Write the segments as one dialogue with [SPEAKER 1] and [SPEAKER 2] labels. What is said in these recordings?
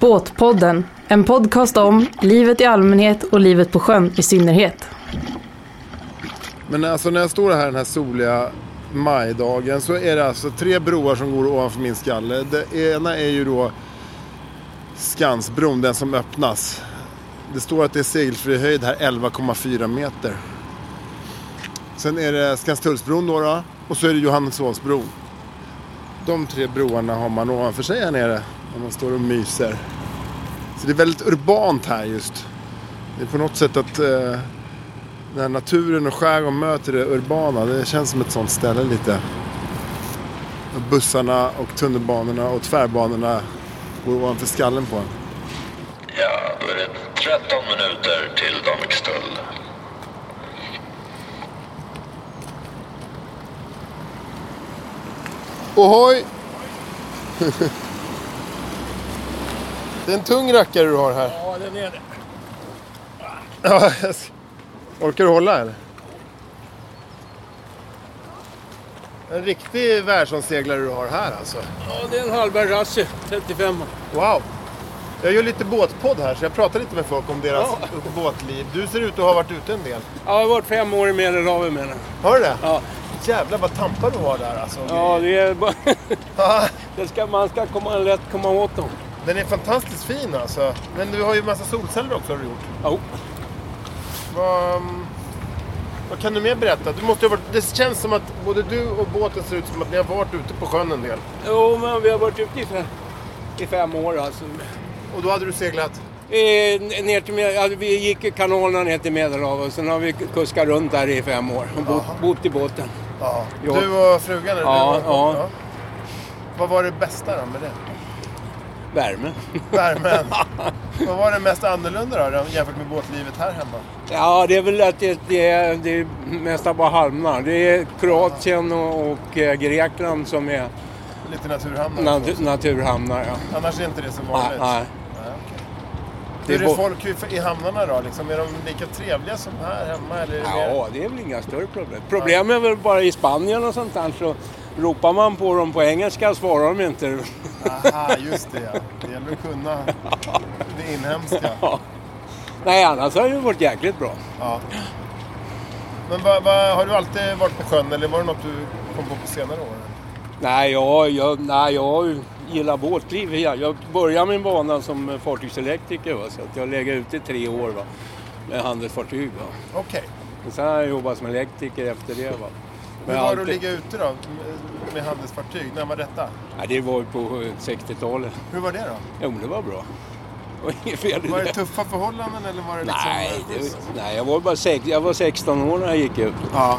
[SPEAKER 1] Båtpodden, en podcast om livet i allmänhet och livet på sjön i synnerhet.
[SPEAKER 2] Men alltså när jag står här den här soliga majdagen så är det alltså tre broar som går ovanför min skalle. Det ena är ju då Skansbron, den som öppnas. Det står att det är segelfri höjd här, 11,4 meter. Sen är det Skanstullsbron då, då och så är det Johanneshovsbron. De tre broarna har man ovanför sig här nere när man står och myser. Så det är väldigt urbant här just. Det är på något sätt att eh, när naturen och skärgården möter det urbana, det känns som ett sånt ställe lite. Och bussarna och tunnelbanorna och tvärbanorna går ovanför skallen på en.
[SPEAKER 3] Ja, då är det 13 minuter till Danvikstull.
[SPEAKER 2] Ohoj! det är en tung rackare du har här.
[SPEAKER 4] Ja, den är det.
[SPEAKER 2] Ja, jag ska- Orkar du hålla eller? En riktig världsomseglare du har här alltså.
[SPEAKER 4] Ja, det är en halvberg rassi, 35.
[SPEAKER 2] Wow! Jag gör lite båtpodd här så jag pratar lite med folk om deras
[SPEAKER 4] Ja.
[SPEAKER 2] båtliv. Du ser ut att ha varit ute en del.
[SPEAKER 4] Ja, jag har varit fem år i Medelhavet med den.
[SPEAKER 2] Hör du det?
[SPEAKER 4] Ja,
[SPEAKER 2] Jävlar vad tampar du har där alltså.
[SPEAKER 4] ja det är bara...
[SPEAKER 2] Ja.
[SPEAKER 4] det ska, man ska komma, lätt komma åt dem.
[SPEAKER 2] Den är fantastiskt fin alltså. Men du har ju massa solceller också har du gjort.
[SPEAKER 4] Jo.
[SPEAKER 2] Vad, mm, vad kan du mer berätta? Du måste ju ha varit, det känns som att både du och båten ser ut som att ni har varit ute på sjön en del.
[SPEAKER 4] jo, men vi har varit ute i fem, i fem år alltså.
[SPEAKER 2] Och då hade du seglat?
[SPEAKER 4] Eh, n- ner till, Med- ja, vi gick i kanalerna ner till Medelhavet och sen har vi kuskat runt där i fem år och bott, bott i båten.
[SPEAKER 2] Ja.
[SPEAKER 4] Jo.
[SPEAKER 2] Du och frugan? eller
[SPEAKER 4] Ja,
[SPEAKER 2] du och-
[SPEAKER 4] ja.
[SPEAKER 2] Vad var det bästa då med det?
[SPEAKER 4] Värme.
[SPEAKER 2] Värmen. vad var det mest annorlunda då jämfört med båtlivet här hemma?
[SPEAKER 4] Ja, det är väl att det, det, är- det är nästan bara halmar. Det är Kroatien och, och eh, Grekland som är
[SPEAKER 2] Lite naturhamnar?
[SPEAKER 4] nat- naturhamnar. Ja.
[SPEAKER 2] Annars är inte det så
[SPEAKER 4] Nej,
[SPEAKER 2] vanligt?
[SPEAKER 4] nej.
[SPEAKER 2] Nej, okej.
[SPEAKER 4] Ah, Det är
[SPEAKER 2] Hur är
[SPEAKER 4] bo-
[SPEAKER 2] folk i- i hamnarna då? Liksom, är de lika trevliga som här hemma? Eller är det mer-
[SPEAKER 4] Ja, det är väl inga större problem. Problem är väl bara i Spanien och sånt där så ropar man på dem på engelska svarar de inte.
[SPEAKER 2] Aha, just det ja. Det gäller att kunna det inhemska.
[SPEAKER 4] Ja. Nej, annars har det varit jäkligt bra.
[SPEAKER 2] Ja. Men vad- vad- har du alltid varit på sjön eller var det något du kom på på senare år?
[SPEAKER 4] Nej, jag, jag, nej, jag gillar båtliv. Jag, jag började min bana som fartygselektriker va, så att jag lägger ut i tre år va, med handelsfartyg. Va.
[SPEAKER 2] Okej.
[SPEAKER 4] Och sen har jag jobbat som elektriker efter det. Va.
[SPEAKER 2] Hur var
[SPEAKER 4] Men
[SPEAKER 2] det att
[SPEAKER 4] alltid-
[SPEAKER 2] ligga ute då med- med handelsfartyg? När var detta?
[SPEAKER 4] Nej, det var ju på eh, 60-talet.
[SPEAKER 2] Hur var det då?
[SPEAKER 4] Jo, men det var bra. Det var inget fel i
[SPEAKER 2] Var det tuffa förhållanden eller var det liksom...
[SPEAKER 4] Nej, det, nej jag, var bara sex, jag var 16 år när jag gick ut.
[SPEAKER 2] Ja.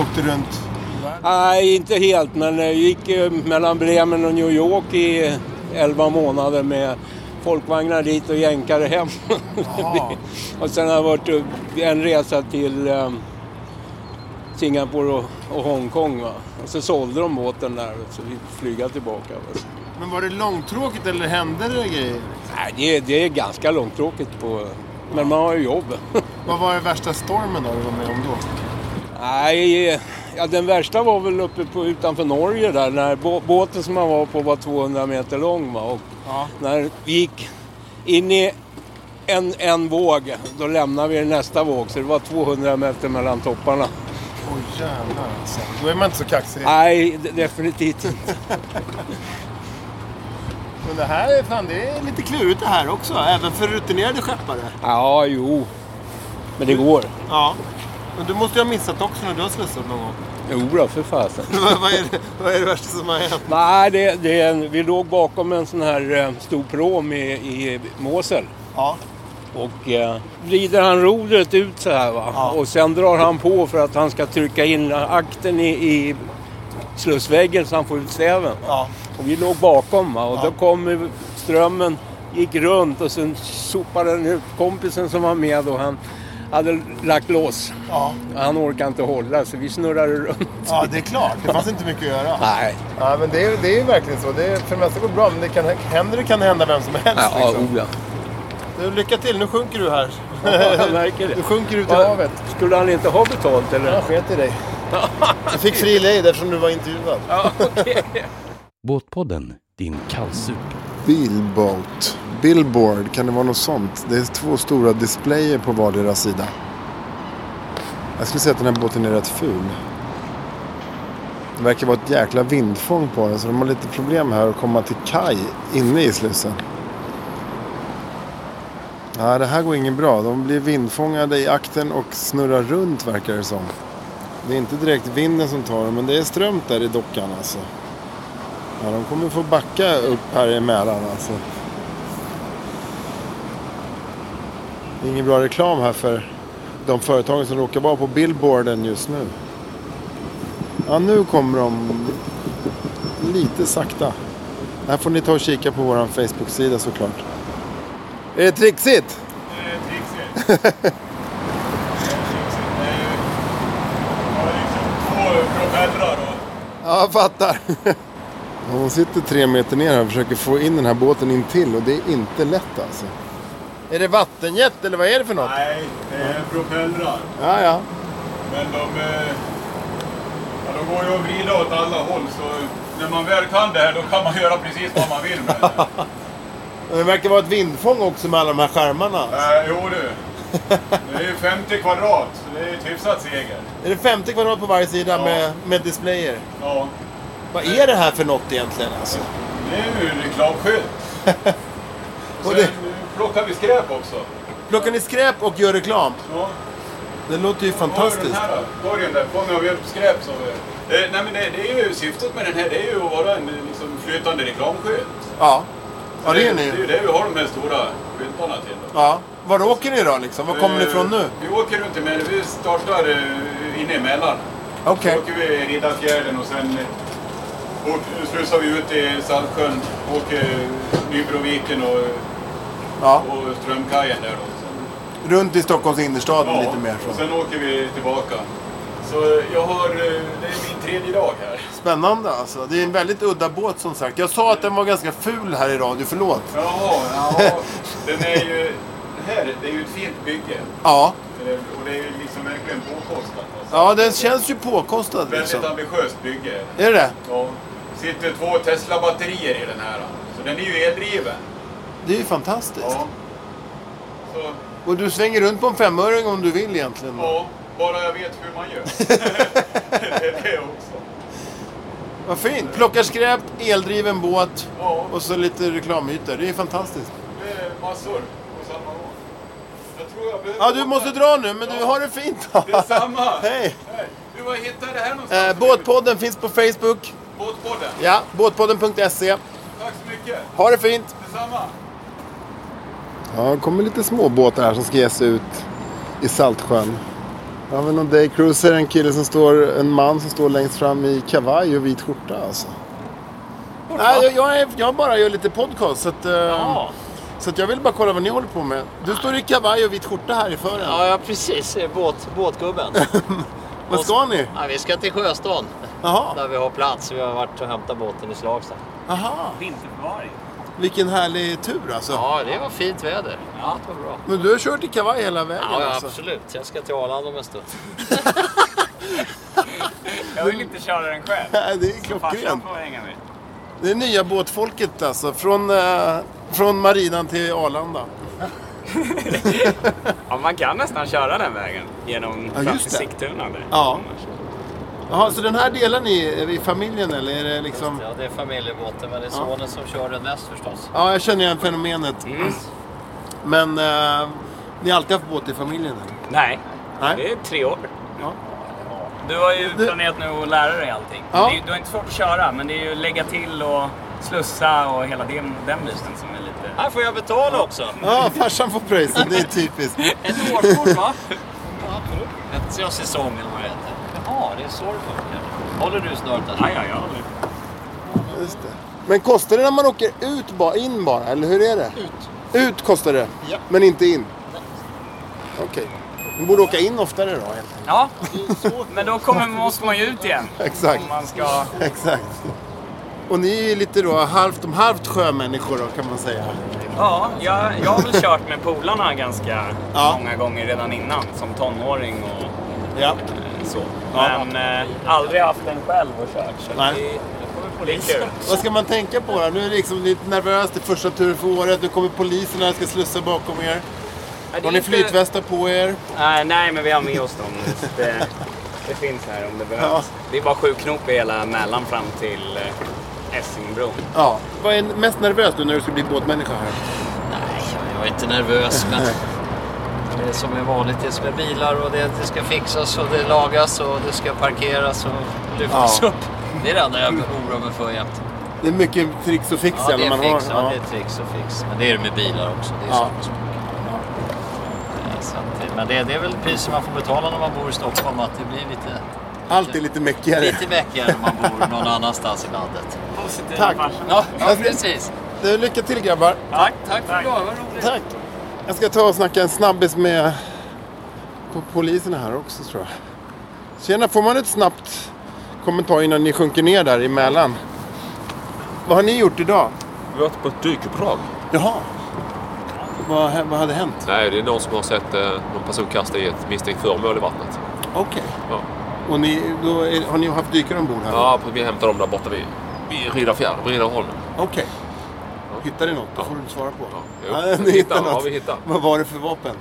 [SPEAKER 2] Åkte runt i världen?
[SPEAKER 4] Nej, inte helt, men jag gick eh, mellan Bremen och New York i eh, 11 månader med folkvagnar dit och jänkare hem.
[SPEAKER 2] Jaha.
[SPEAKER 4] och sen har jag varit upp- en resa till eh, Singapore och, och Hongkong. Va? Och så sålde de båten där och så vi fick flyga tillbaka. Va?
[SPEAKER 2] Men var det långtråkigt eller hände det grejer?
[SPEAKER 4] Nej, det, är- det är ganska långtråkigt, på, men man har ju jobb.
[SPEAKER 2] Vad var den värsta stormen då du var med om då?
[SPEAKER 4] Nej, ja, den värsta var väl uppe på, utanför Norge där när bå- båten som man var på var 200 meter lång. Va? Och
[SPEAKER 2] Ja.
[SPEAKER 4] När vi gick in i en, en våg, då lämnade vi nästa våg så det var 200 meter mellan topparna.
[SPEAKER 2] Oj jävlar alltså. Då är man inte så kaxig.
[SPEAKER 4] Nej, de- definitivt inte.
[SPEAKER 2] Men det här är fan, det är lite klurigt det här också. Även för rutinerade skeppare.
[SPEAKER 4] Ja, jo. Men det går.
[SPEAKER 2] Ja. Men du måste ju ha missat också när du har slussat någon gång.
[SPEAKER 4] Jo då, för fasen.
[SPEAKER 2] vad, vad, är det, vad är det värsta som har hänt?
[SPEAKER 4] Nej, det, det, är en- vi låg bakom en sån här eh, stor pråm i, i Mosel.
[SPEAKER 2] Ja.
[SPEAKER 4] Och eh, vrider han rodret ut så här va.
[SPEAKER 2] Ja.
[SPEAKER 4] Och sen drar han på för att han ska trycka in akten i, i slussväggen så han får ut säven. Va?
[SPEAKER 2] Ja.
[SPEAKER 4] Och vi låg bakom va. Och
[SPEAKER 2] Ja.
[SPEAKER 4] då kom ju strömmen, gick runt och sen sopade den ut kompisen som var med och han hade lagt lås.
[SPEAKER 2] Ja.
[SPEAKER 4] Han orkade inte hålla så vi snurrade runt.
[SPEAKER 2] Ja, det är klart. Det fanns inte mycket att göra.
[SPEAKER 4] Nej,
[SPEAKER 2] Ja, men det är, det är ju verkligen så. Det är, för det mesta går det bra, men det kan, händer det kan det hända vem som helst.
[SPEAKER 4] ja,
[SPEAKER 2] liksom.
[SPEAKER 4] oja.
[SPEAKER 2] du, lycka till, nu sjunker du här.
[SPEAKER 4] Jag märker det.
[SPEAKER 2] Du sjunker ut i
[SPEAKER 4] Va-
[SPEAKER 2] havet.
[SPEAKER 4] Skulle han inte ha betalt eller?
[SPEAKER 2] Jag sket i dig. Du fick fri lejd eftersom du var intervjuad.
[SPEAKER 4] Ja, okej.
[SPEAKER 5] Båtpodden, din kallsup.
[SPEAKER 2] Bilboat. billboard? Kan det vara något sånt? Det är två stora displayer på vardera sida. Jag skulle säga att den här båten är rätt ful. Det verkar vara ett jäkla vindfång på den så de har lite problem här att komma till kaj inne i slussen. Nej, det här går inget bra. De blir vindfångade i akten och snurrar runt verkar det som. Det är inte direkt vinden som tar dem, men det är strömt där i dockan alltså. Ja, de kommer få backa upp här i Mälaren alltså. Det är ingen bra reklam här för de företagen som råkar vara på billboarden just nu. Ja, nu kommer de lite sakta. Det här får ni ta och kika på vår Facebook-sida såklart. Är det trixigt? Ja, jag fattar. Ja, De sitter tre meter ner här och försöker få in den här båten in till och det är inte lätt alltså. Är det vattenjet eller vad är det för något?
[SPEAKER 5] Nej, det är propellrar.
[SPEAKER 2] Ja, ja.
[SPEAKER 5] Men de, eh, ja, de går ju att vrida åt alla håll. Så när man väl kan det här då kan man göra precis vad man vill med det.
[SPEAKER 2] Men Det verkar vara ett vindfång också med alla de här skärmarna.
[SPEAKER 5] Eh, jo du. Det är ju 50 kvadrat, så det är ett hyfsat seger.
[SPEAKER 2] Är det 50 kvadrat på varje sida med, med displayer?
[SPEAKER 5] Ja,
[SPEAKER 2] Vad är det här för något egentligen alltså?
[SPEAKER 5] det är ju en reklamskylt.
[SPEAKER 2] Och
[SPEAKER 5] Sen
[SPEAKER 2] det,
[SPEAKER 5] plockar vi skräp också.
[SPEAKER 2] plockar ni skräp och gör reklam?
[SPEAKER 5] Ja.
[SPEAKER 2] Det låter ju
[SPEAKER 5] Har du
[SPEAKER 2] fantastiskt.
[SPEAKER 5] den här då? Korgen där, fånga och hjälp skräp som vi... Eh, nej men det, det är ju syftet med den här, det är ju att vara en eh, liksom, flytande reklamskylt.
[SPEAKER 2] Ja. Ja, det är
[SPEAKER 5] Det är
[SPEAKER 2] ni.
[SPEAKER 5] ju det vi har de här stora skyltarna till. Då.
[SPEAKER 2] Ja. Var åker ni då liksom? Var kommer ni
[SPEAKER 5] Eh,
[SPEAKER 2] ifrån nu?
[SPEAKER 5] Vi åker runt i Mälaren. Vi startar eh, inne i Mälaren.
[SPEAKER 2] Okej.
[SPEAKER 5] Så åker vi i Riddarfjärden och sen eh, åker- slussar vi ut i Saltsjön. Åker Nybroviken och,
[SPEAKER 2] Ja.
[SPEAKER 5] och Strömkajen där då. Sen,
[SPEAKER 2] Runt i Stockholms innerstad
[SPEAKER 5] ja,
[SPEAKER 2] lite mer.
[SPEAKER 5] och
[SPEAKER 2] Så.
[SPEAKER 5] sen åker vi tillbaka. Så eh, jag har, eh, det är min tredje dag här.
[SPEAKER 2] Spännande alltså. Det är en väldigt udda båt som sagt. Jag sa att den var ganska ful här i radio, förlåt.
[SPEAKER 5] Jaha, ja, den är ju, det här, det är ju ett fint bygge.
[SPEAKER 2] Ja.
[SPEAKER 5] Eh, Och det är ju liksom verkligen påkostat. alltså.
[SPEAKER 2] Ja, den känns ju påkostad
[SPEAKER 5] Väldigt
[SPEAKER 2] liksom.
[SPEAKER 5] ambitiöst bygge.
[SPEAKER 2] Är det det?
[SPEAKER 5] Ja, sitter två Tesla-batterier i den här. alltså. Så den är ju eldriven.
[SPEAKER 2] Det är ju fantastiskt.
[SPEAKER 5] Ja. Så,
[SPEAKER 2] Och du svänger runt på en femöring om du vill egentligen.
[SPEAKER 5] ja, bara jag vet hur man gör. det är det också.
[SPEAKER 2] Vad fint! Plockar skräp, eldriven båt
[SPEAKER 5] Ja.
[SPEAKER 2] och så lite reklamytor. Det är fantastiskt.
[SPEAKER 5] Det är massor på samma gång. Jag tror jag behöver...
[SPEAKER 2] Ja, du måste dra nu, men du har det fint.
[SPEAKER 5] Detsamma!
[SPEAKER 2] Hej!
[SPEAKER 5] Hej. Du, var hittade det här någonstans?
[SPEAKER 2] Eh, båtpodden finns på Facebook.
[SPEAKER 5] Båtpodden.
[SPEAKER 2] Ja, båtpodden.se.
[SPEAKER 5] Tack så mycket.
[SPEAKER 2] E. Ha det fint!
[SPEAKER 5] Detsamma.
[SPEAKER 2] Ja, det kommer lite småbåtar här som ska ge sig ut i Saltsjön. Här har vi någon daycruiser, en kille som står, en man som står längst fram i kavaj och vit skjorta alltså. Nej, jag, jag, är, jag bara gör lite podcast så att, eh, så att jag vill bara kolla vad ni håller på med. Du står i kavaj och vit skjorta här i fören.
[SPEAKER 6] Ja, ja precis. Båt, båtgubben.
[SPEAKER 2] Vad ska ni?
[SPEAKER 6] ja, vi ska till Sjöstaden
[SPEAKER 2] Jaha,
[SPEAKER 6] där vi har plats. Vi har varit och hämtat båten i Slagsta.
[SPEAKER 2] aha. Vilken härlig tur alltså.
[SPEAKER 6] Ja, det var fint väder. Ja, det var bra.
[SPEAKER 2] Men du har kört i kavaj hela vägen
[SPEAKER 6] Ja, ja,
[SPEAKER 2] alltså.
[SPEAKER 6] absolut. Jag ska till Arlanda om en stund.
[SPEAKER 7] Jag vill inte köra den själv.
[SPEAKER 2] Nej, det är
[SPEAKER 7] Farsan
[SPEAKER 2] klockrent.
[SPEAKER 7] får hänga med.
[SPEAKER 2] Det är nya båtfolket alltså. Från, eh, från marinan till Arlanda.
[SPEAKER 7] Ja, man kan nästan köra den vägen genom
[SPEAKER 2] Ja,
[SPEAKER 7] ja,
[SPEAKER 2] just det.
[SPEAKER 7] Sigtuna. där.
[SPEAKER 2] Ja. Jaha, så den här delar ni i familjen eller är det liksom...
[SPEAKER 6] Ja, det är familjebåten, men det är sonen som kör den mest förstås.
[SPEAKER 2] Ja, jag känner igen fenomenet.
[SPEAKER 7] Mm.
[SPEAKER 2] Men eh, ni har alltid haft båt i familjen? eller?
[SPEAKER 7] Nej,
[SPEAKER 2] Nej?
[SPEAKER 7] det är tre år.
[SPEAKER 2] Ja.
[SPEAKER 7] Du har ju planerat nu att lära dig allting.
[SPEAKER 2] Ja.
[SPEAKER 7] Det är, du har inte svårt att köra, men det är ju lägga till och slussa och hela den, den biten som är lite...
[SPEAKER 6] Här får jag betala också.
[SPEAKER 2] Ja, farsan får pröjsen. Det är typiskt.
[SPEAKER 7] Ett årskort va?
[SPEAKER 6] Ett ja, säsong eller vad det heter. Jaha, det är så det funkar. Håller du snöret?
[SPEAKER 7] Ja, ja, ja.
[SPEAKER 2] Just det. Men kostar det när man åker ut bara, in bara? Eller hur är det? Ut. Ut kostar det?
[SPEAKER 6] Ja.
[SPEAKER 2] Men inte in? Okej. Man borde åka in oftare då egentligen.
[SPEAKER 7] ja. Men då kommer, måste man ju ut igen.
[SPEAKER 2] Exakt.
[SPEAKER 7] Om man ska...
[SPEAKER 2] Exakt. Och ni är ju lite då halvt om halvt sjömänniskor då kan man säga.
[SPEAKER 7] Ja, jag, jag har väl kört med polarna ganska
[SPEAKER 2] Ja.
[SPEAKER 7] många gånger redan innan, som tonåring och
[SPEAKER 2] Ja.
[SPEAKER 7] eh, så. Men eh, aldrig haft en själv och kört. Så
[SPEAKER 2] Nej.
[SPEAKER 7] det, det får vi
[SPEAKER 6] poliser
[SPEAKER 7] Poliser.
[SPEAKER 6] också.
[SPEAKER 2] Vad ska man tänka på här? Nu är det liksom lite nervöst i första tur för året. Nu kommer poliserna och ska slussa bakom er.
[SPEAKER 7] Ja, det är
[SPEAKER 2] Har ni
[SPEAKER 7] inte-
[SPEAKER 2] flytvästar på er?
[SPEAKER 7] Nej, nej, men vi har med oss dem. Det, det finns här om det behövs. Det är bara sju knop i hela Mälaren fram till eh, Essingbron.
[SPEAKER 2] Ja. Vad är mest nervöst nu när du ska bli båtmänniska här?
[SPEAKER 6] Nej, jag är inte nervös men det är som är vanligt. Det ska bilar och det, det ska fixas och det lagas och det ska parkeras och lyftas
[SPEAKER 2] Ja.
[SPEAKER 6] upp. Det är det enda jag oroar mig för jämt.
[SPEAKER 2] Det är mycket tricks och fix
[SPEAKER 6] Ja, det
[SPEAKER 2] när
[SPEAKER 6] är
[SPEAKER 2] man
[SPEAKER 6] fix.
[SPEAKER 2] har.
[SPEAKER 6] Ja, det är trix och fix. Men det är det med bilar också. Det
[SPEAKER 2] Ja.
[SPEAKER 6] är samma sak. Eh, så att- Men det, det är väl priset man får betala när man bor i Stockholm, att det blir lite,
[SPEAKER 2] Allt är lite mäckigare.
[SPEAKER 6] lite mäckigare när man bor någon annanstans i landet.
[SPEAKER 7] Positiv
[SPEAKER 2] Tack.
[SPEAKER 7] farsa.
[SPEAKER 6] Ja, ja precis.
[SPEAKER 2] Du, lycka till grabbar.
[SPEAKER 6] Tack, tack för idag, vad roligt.
[SPEAKER 2] Tack. Jag ska ta och snacka en snabbis med po- poliserna här också tror jag. Tjena, får man ett snabbt kommentar innan ni sjunker ner där emellan? Vad har ni gjort idag?
[SPEAKER 8] Vi har varit på ett dykuppdrag.
[SPEAKER 2] Jaha. Vad, hä- vad hade hänt?
[SPEAKER 8] Nej, det är någon som har sett eh, någon person kasta i ett misstänkt föremål i vattnet.
[SPEAKER 2] Okej.
[SPEAKER 8] Ja,
[SPEAKER 2] Och ni, då är, har ni haft dykare ombord här?
[SPEAKER 8] ja vi hämtar dem där borta vid, vid Riddarfjärden, på Riddarholmen.
[SPEAKER 2] Okej. Hittar ni något? Då får du inte svara på.
[SPEAKER 8] Ja, jo.
[SPEAKER 2] Ja, ni
[SPEAKER 8] Vi
[SPEAKER 2] hittar
[SPEAKER 8] hittar, ja,
[SPEAKER 2] något.
[SPEAKER 8] vi hittar.
[SPEAKER 2] Vad var det för vapen?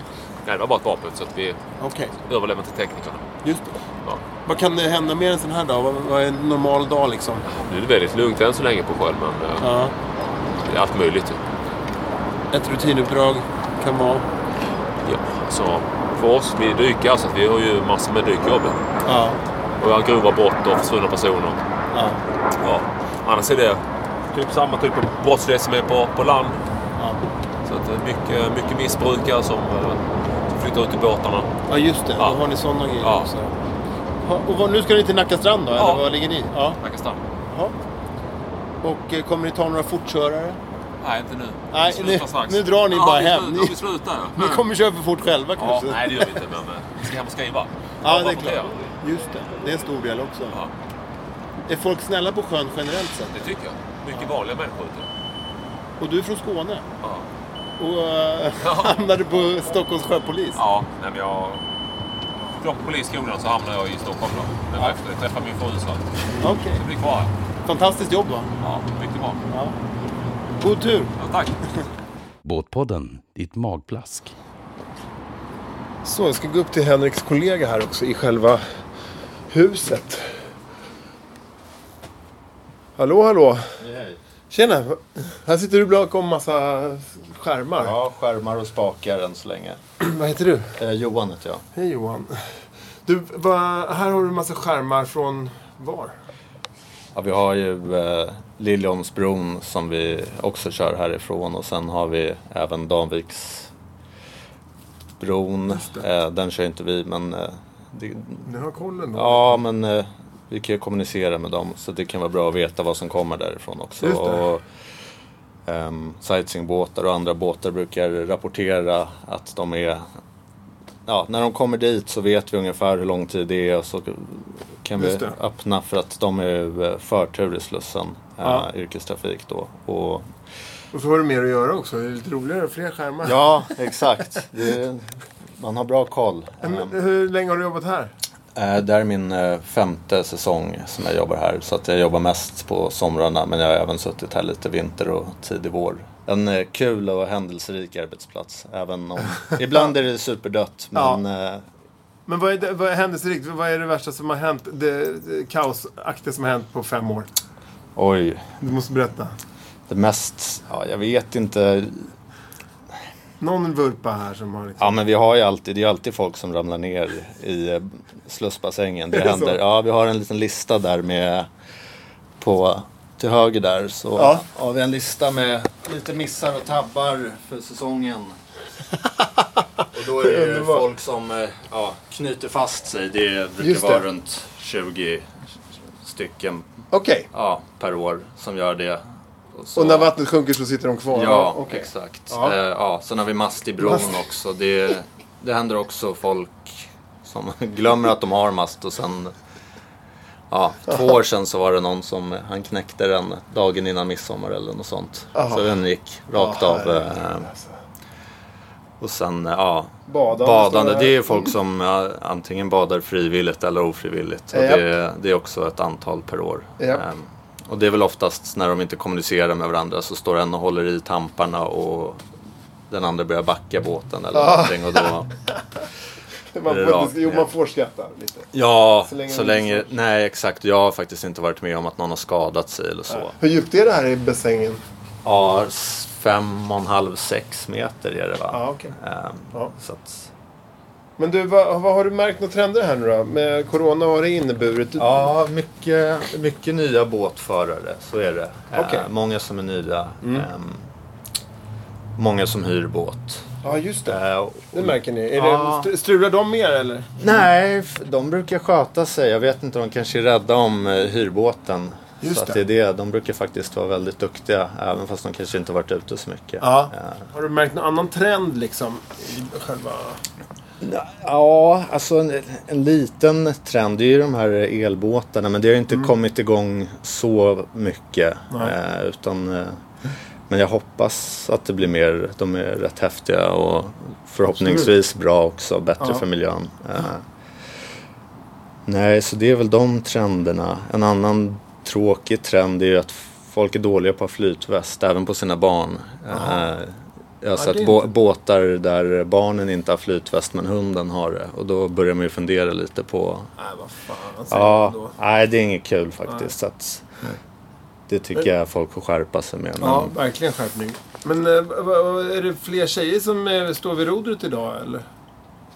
[SPEAKER 8] Nej, det var bara ett vapen så att vi
[SPEAKER 2] Okej,
[SPEAKER 8] överlämnar till teknikerna.
[SPEAKER 2] just det.
[SPEAKER 8] Ja.
[SPEAKER 2] Vad kan det hända mer en sån här dag? Vad, vad är en normal dag liksom?
[SPEAKER 8] Nu är det väldigt lugnt än så länge på sjön, men eh,
[SPEAKER 2] Ja.
[SPEAKER 8] det är allt möjligt. ju.
[SPEAKER 2] Ett rutinuppdrag kan vara.
[SPEAKER 8] Ja, så för oss, vi dykar så att vi har ju massor med dykjobb.
[SPEAKER 2] Ja.
[SPEAKER 8] Och vi har grova brott och försvunna personer.
[SPEAKER 2] ja.
[SPEAKER 8] Ja. Annars är det typ samma typ av brottslighet som är på, på land.
[SPEAKER 2] ja.
[SPEAKER 8] Så att det är mycket, mycket missbrukare som, eh, som flyttar ut i båtarna.
[SPEAKER 2] Ja, just det.
[SPEAKER 8] Ja.
[SPEAKER 2] Då har ni sådana grejer
[SPEAKER 8] Ja.
[SPEAKER 2] också. Ha, och vad, nu ska ni till Nacka strand då?
[SPEAKER 8] Ja.
[SPEAKER 2] Eller var ligger ni? Ja.
[SPEAKER 8] Pakistan?
[SPEAKER 2] ja. Och eh, kommer ni ta några fortkörare?
[SPEAKER 8] Nej, inte nu.
[SPEAKER 2] Nej,
[SPEAKER 8] Vi slutar
[SPEAKER 2] nu-
[SPEAKER 8] strax.
[SPEAKER 2] nu drar ni
[SPEAKER 8] ja,
[SPEAKER 2] bara
[SPEAKER 8] vi
[SPEAKER 2] hem.
[SPEAKER 8] Slutar,
[SPEAKER 2] Ni-
[SPEAKER 8] Vi slutar ja.
[SPEAKER 2] Ni kommer köra för fort själva
[SPEAKER 8] Ja,
[SPEAKER 2] kanske?
[SPEAKER 8] nej, det gör vi inte. Men eh, vi ska hem och skriva.
[SPEAKER 2] Ja,
[SPEAKER 8] Och
[SPEAKER 2] det är
[SPEAKER 8] rapportera.
[SPEAKER 2] klart. Just det. Det är en stor del också.
[SPEAKER 8] Ja.
[SPEAKER 2] Är folk snälla på sjön generellt sett?
[SPEAKER 8] Det tycker jag. Mycket vanliga människor. ute.
[SPEAKER 2] Och du är från Skåne
[SPEAKER 8] Ja.
[SPEAKER 2] och eh,
[SPEAKER 8] Ja.
[SPEAKER 2] hamnade på Stockholms sjöpolis.
[SPEAKER 8] Ja, nej, men jag... Från polisskolan så hamnade jag i Stockholm då. Men
[SPEAKER 2] Ja.
[SPEAKER 8] efter jag träffade min fru så att
[SPEAKER 2] Okej.
[SPEAKER 8] jag blir kvar här.
[SPEAKER 2] Fantastiskt jobb va?
[SPEAKER 8] Ja, mycket bra.
[SPEAKER 2] God tur.
[SPEAKER 8] Ja, tack.
[SPEAKER 9] Båtpodden, ditt magplask.
[SPEAKER 2] Så, jag ska gå upp till Henriks kollega här också i själva huset. Hallå, hallå. Tjena. Här sitter du bakom massa skärmar.
[SPEAKER 10] Ja, skärmar och spakar än så länge.
[SPEAKER 2] Vad heter du?
[SPEAKER 10] Eh, Johan heter jag.
[SPEAKER 2] Hej Johan. Du, va, här har du massa skärmar från var?
[SPEAKER 10] Ja, vi har ju eh, Liljeholmsbron som vi också kör härifrån och sen har vi även Danviksbron. Eh, den kör inte vi men eh, det,
[SPEAKER 2] Ni har kollen då?
[SPEAKER 10] ja, men eh, vi kan ju kommunicera med dem så det kan vara bra att veta vad som kommer därifrån också.
[SPEAKER 2] Just det.
[SPEAKER 10] Och, ehm, sightseeingbåtar och andra båtar brukar rapportera att de är ja, när de kommer dit så vet vi ungefär hur lång tid det är och så kan vi
[SPEAKER 2] Just det.
[SPEAKER 10] öppna för att de är ju, eh, förtur i Slussen,
[SPEAKER 2] Ja.
[SPEAKER 10] eh, yrkestrafik då. Och,
[SPEAKER 2] Och så har du mer att göra också. Det är lite roligare, fler skärmar.
[SPEAKER 10] ja, exakt. Det, man har bra koll.
[SPEAKER 2] Men, hur länge har du jobbat här?
[SPEAKER 10] Eh, Det här är min eh, femte säsong som jag jobbar här. Så att jag jobbar mest på somrarna men jag har även suttit här lite vinter och tidig vår. En eh, kul och händelserik arbetsplats. Även om ibland är det superdött men eh,
[SPEAKER 2] Men vad, är det, vad är händelserikt? Vad är det värsta som har hänt? Det, det kaosaktiga som har hänt på fem år?
[SPEAKER 10] oj.
[SPEAKER 2] Du måste berätta.
[SPEAKER 10] Det mest, ja jag vet inte.
[SPEAKER 2] Någon vurpa här som har liksom...
[SPEAKER 10] Ja men vi har ju alltid, det är ju alltid folk som ramlar ner i eh, slussbassängen. Det
[SPEAKER 2] Är det så?
[SPEAKER 10] händer. Ja vi har en liten lista där med på till höger där så
[SPEAKER 2] Ja.
[SPEAKER 10] har vi en lista med lite missar och tabbar för säsongen. och då är det ju
[SPEAKER 2] Underbart.
[SPEAKER 10] folk som eh, ja, knyter fast sig. Det brukar
[SPEAKER 2] Just det.
[SPEAKER 10] vara runt 20 stycken
[SPEAKER 2] Okej.
[SPEAKER 10] ja, per år som gör det. så-
[SPEAKER 2] Och när vattnet sjunker så sitter de kvar?
[SPEAKER 10] Ja,
[SPEAKER 2] Okej.
[SPEAKER 10] exakt.
[SPEAKER 2] Ja.
[SPEAKER 10] Ja. Eh, ja, sen har vi mast i bron
[SPEAKER 2] Mast.
[SPEAKER 10] också. Det, det händer också folk som glömmer att de har mast och sen... Ja, två år sedan så var det någon som han knäckte den dagen innan midsommar eller något sånt.
[SPEAKER 2] Aha.
[SPEAKER 10] Så den gick rakt
[SPEAKER 2] Ja,
[SPEAKER 10] av.
[SPEAKER 2] herregud,
[SPEAKER 10] Eh,
[SPEAKER 2] alltså.
[SPEAKER 10] och sen, eh, ja.
[SPEAKER 2] Badande,
[SPEAKER 10] Badande,
[SPEAKER 2] står
[SPEAKER 10] det är ju folk som ja, antingen badar frivilligt eller ofrivilligt. Och
[SPEAKER 2] Japp.
[SPEAKER 10] det, det är också ett antal per år.
[SPEAKER 2] Japp.
[SPEAKER 10] Ehm, Och det är väl oftast när de inte kommunicerar med varandra så står en och håller i tamparna och den andra börjar backa båten eller
[SPEAKER 2] Ja.
[SPEAKER 10] någonting och då...
[SPEAKER 2] Man
[SPEAKER 10] blir det
[SPEAKER 2] får
[SPEAKER 10] rakt
[SPEAKER 2] inte, jo,
[SPEAKER 10] ner.
[SPEAKER 2] man får skratta lite.
[SPEAKER 10] Ja,
[SPEAKER 2] Så länge
[SPEAKER 10] så
[SPEAKER 2] man
[SPEAKER 10] länge... Nej, exakt. Jag har faktiskt inte varit med om att någon har skadat sig eller så.
[SPEAKER 2] Hur djupt är det här i bassängen?
[SPEAKER 10] Ja, s- fem och en halv, sex meter är det va?
[SPEAKER 2] Ja, okej.
[SPEAKER 10] Ehm,
[SPEAKER 2] Ja.
[SPEAKER 10] Så att...
[SPEAKER 2] Men du, vad, vad har du märkt några trender här nu då? Med corona, vad har det inneburit? Du-
[SPEAKER 10] Ja, mycket, mycket nya båtförare. Så är det. Eh,
[SPEAKER 2] Okej.
[SPEAKER 10] många som är nya.
[SPEAKER 2] Mm.
[SPEAKER 10] ehm, många som hyr båt.
[SPEAKER 2] Ja, just det.
[SPEAKER 10] Eh, och-
[SPEAKER 2] Det märker ni. Är
[SPEAKER 10] Ja.
[SPEAKER 2] det, stru- strular de mer eller?
[SPEAKER 10] Nej, f- de brukar sköta sig. Jag vet inte, de kanske är rädda om eh, hyrbåten.
[SPEAKER 2] Just
[SPEAKER 10] så att det.
[SPEAKER 2] det.
[SPEAKER 10] är det. De brukar faktiskt vara väldigt duktiga, även fast de kanske inte har varit ute så mycket.
[SPEAKER 2] Ja.
[SPEAKER 10] Eh,
[SPEAKER 2] Har du märkt någon annan trend liksom? I själva...
[SPEAKER 10] Ja, alltså en, en liten trend det är ju de här elbåtarna men det har ju inte kommit igång så mycket.
[SPEAKER 2] Mm. Nej.
[SPEAKER 10] Eh, utan, eh, men jag hoppas att det blir mer, de är rätt häftiga och förhoppningsvis bra också, bättre
[SPEAKER 2] Ja.
[SPEAKER 10] för miljön. Eh, nej, så det är väl de trenderna. En annan tråkig trend är ju att folk är dåliga på att ha flytväst, även på sina barn. Eh, jag
[SPEAKER 2] Ja,
[SPEAKER 10] har sett
[SPEAKER 2] det är
[SPEAKER 10] bå-
[SPEAKER 2] inte-
[SPEAKER 10] båtar där barnen inte har flytväst men hunden har det. Och då börjar man ju fundera lite på...
[SPEAKER 2] Nej, vad fan alltså, säger ja.
[SPEAKER 10] Ja,
[SPEAKER 2] då?
[SPEAKER 10] nej det är inget kul faktiskt. Så att, det tycker jag folk får skärpa sig med. Men,
[SPEAKER 2] Eh. Ja, verkligen skärpning. Men eh, vad- vad- är det fler tjejer som eh, står vid rodret idag eller?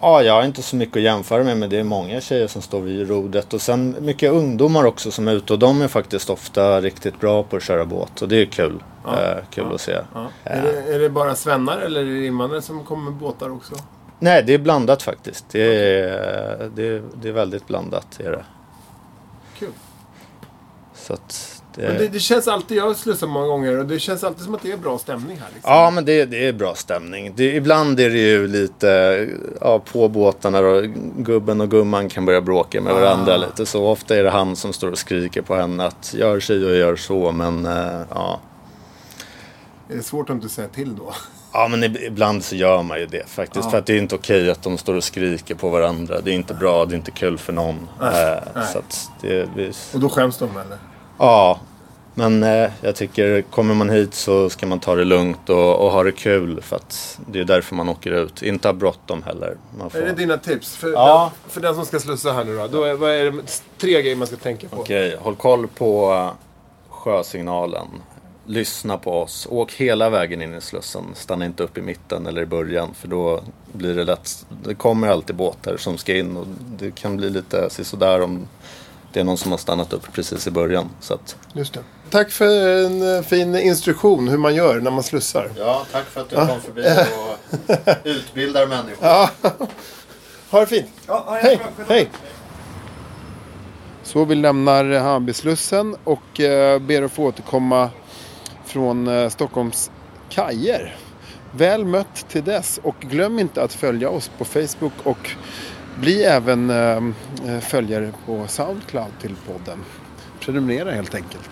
[SPEAKER 10] ja, jag har inte så mycket att jämföra med men det är många tjejer som står vid rodret. Och sen mycket ungdomar också som är ute och de är faktiskt ofta riktigt bra på att köra båt. Och det är kul. Eh, kul att se.
[SPEAKER 2] Är, det, är det bara svennar eller är det invandrare som kommer med båtar också?
[SPEAKER 10] Nej, det är blandat faktiskt. Det är, det är, det är väldigt blandat. Är det.
[SPEAKER 2] Kul.
[SPEAKER 10] Så att
[SPEAKER 2] Men det, det känns alltid, jag har slussat många gånger och det känns alltid som att det är bra stämning här. Liksom.
[SPEAKER 10] Ja, men det, det är bra stämning. Det, ibland är det ju lite ja, på båtarna då. Gubben och gumman kan börja bråka med varandra
[SPEAKER 2] Ah.
[SPEAKER 10] lite så. Ofta är det han som står och skriker på henne att gör si och gör så, men eh, ja.
[SPEAKER 2] Är det svårt att inte säga till då?
[SPEAKER 10] Ja, men ib- ibland så gör man ju det faktiskt.
[SPEAKER 2] Ja.
[SPEAKER 10] För att det är inte okej att de står och skriker på varandra. Det är inte bra, det är inte kul för någon.
[SPEAKER 2] Nej,
[SPEAKER 10] Eh,
[SPEAKER 2] nej.
[SPEAKER 10] Så att det, vi,
[SPEAKER 2] Och då skäms de eller?
[SPEAKER 10] Ja, men eh, jag tycker kommer man hit så ska man ta det lugnt och, och ha det kul för att det är därför man åker ut. Inte ha bråttom heller. Man får...
[SPEAKER 2] Är det dina tips? För,
[SPEAKER 10] Ja.
[SPEAKER 2] den, för den som ska slussa här nu då. då är, vad är det tre grejer man ska tänka på?
[SPEAKER 10] Okej, håll koll på eh, sjösignalen. Lyssna på oss. Åk hela vägen in i slussen. Stanna inte upp i mitten eller i början för då blir det lätt. Det kommer alltid båtar som ska in och det kan bli lite sådär om det är någon som har stannat upp precis i början. Så att...
[SPEAKER 2] Just det. Tack för en eh, fin instruktion hur man gör när man slussar.
[SPEAKER 10] Ja, tack för att du kom förbi och utbildar människor.
[SPEAKER 2] Ja. Ha det fint. Hej. Hej. Så vi lämnar Hammarbyslussen och eh, ber att få återkomma från eh, Stockholms kajer. Väl mött till dess och glöm inte att följa oss på Facebook och bli även eh, följare på Soundcloud till podden. Prenumerera helt enkelt.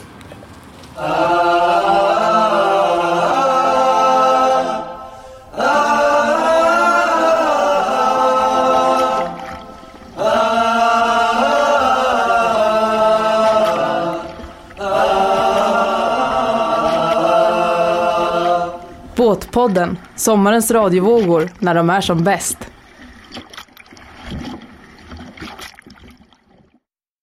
[SPEAKER 1] Båtpodden, sommarens radiovågor när de är som bäst.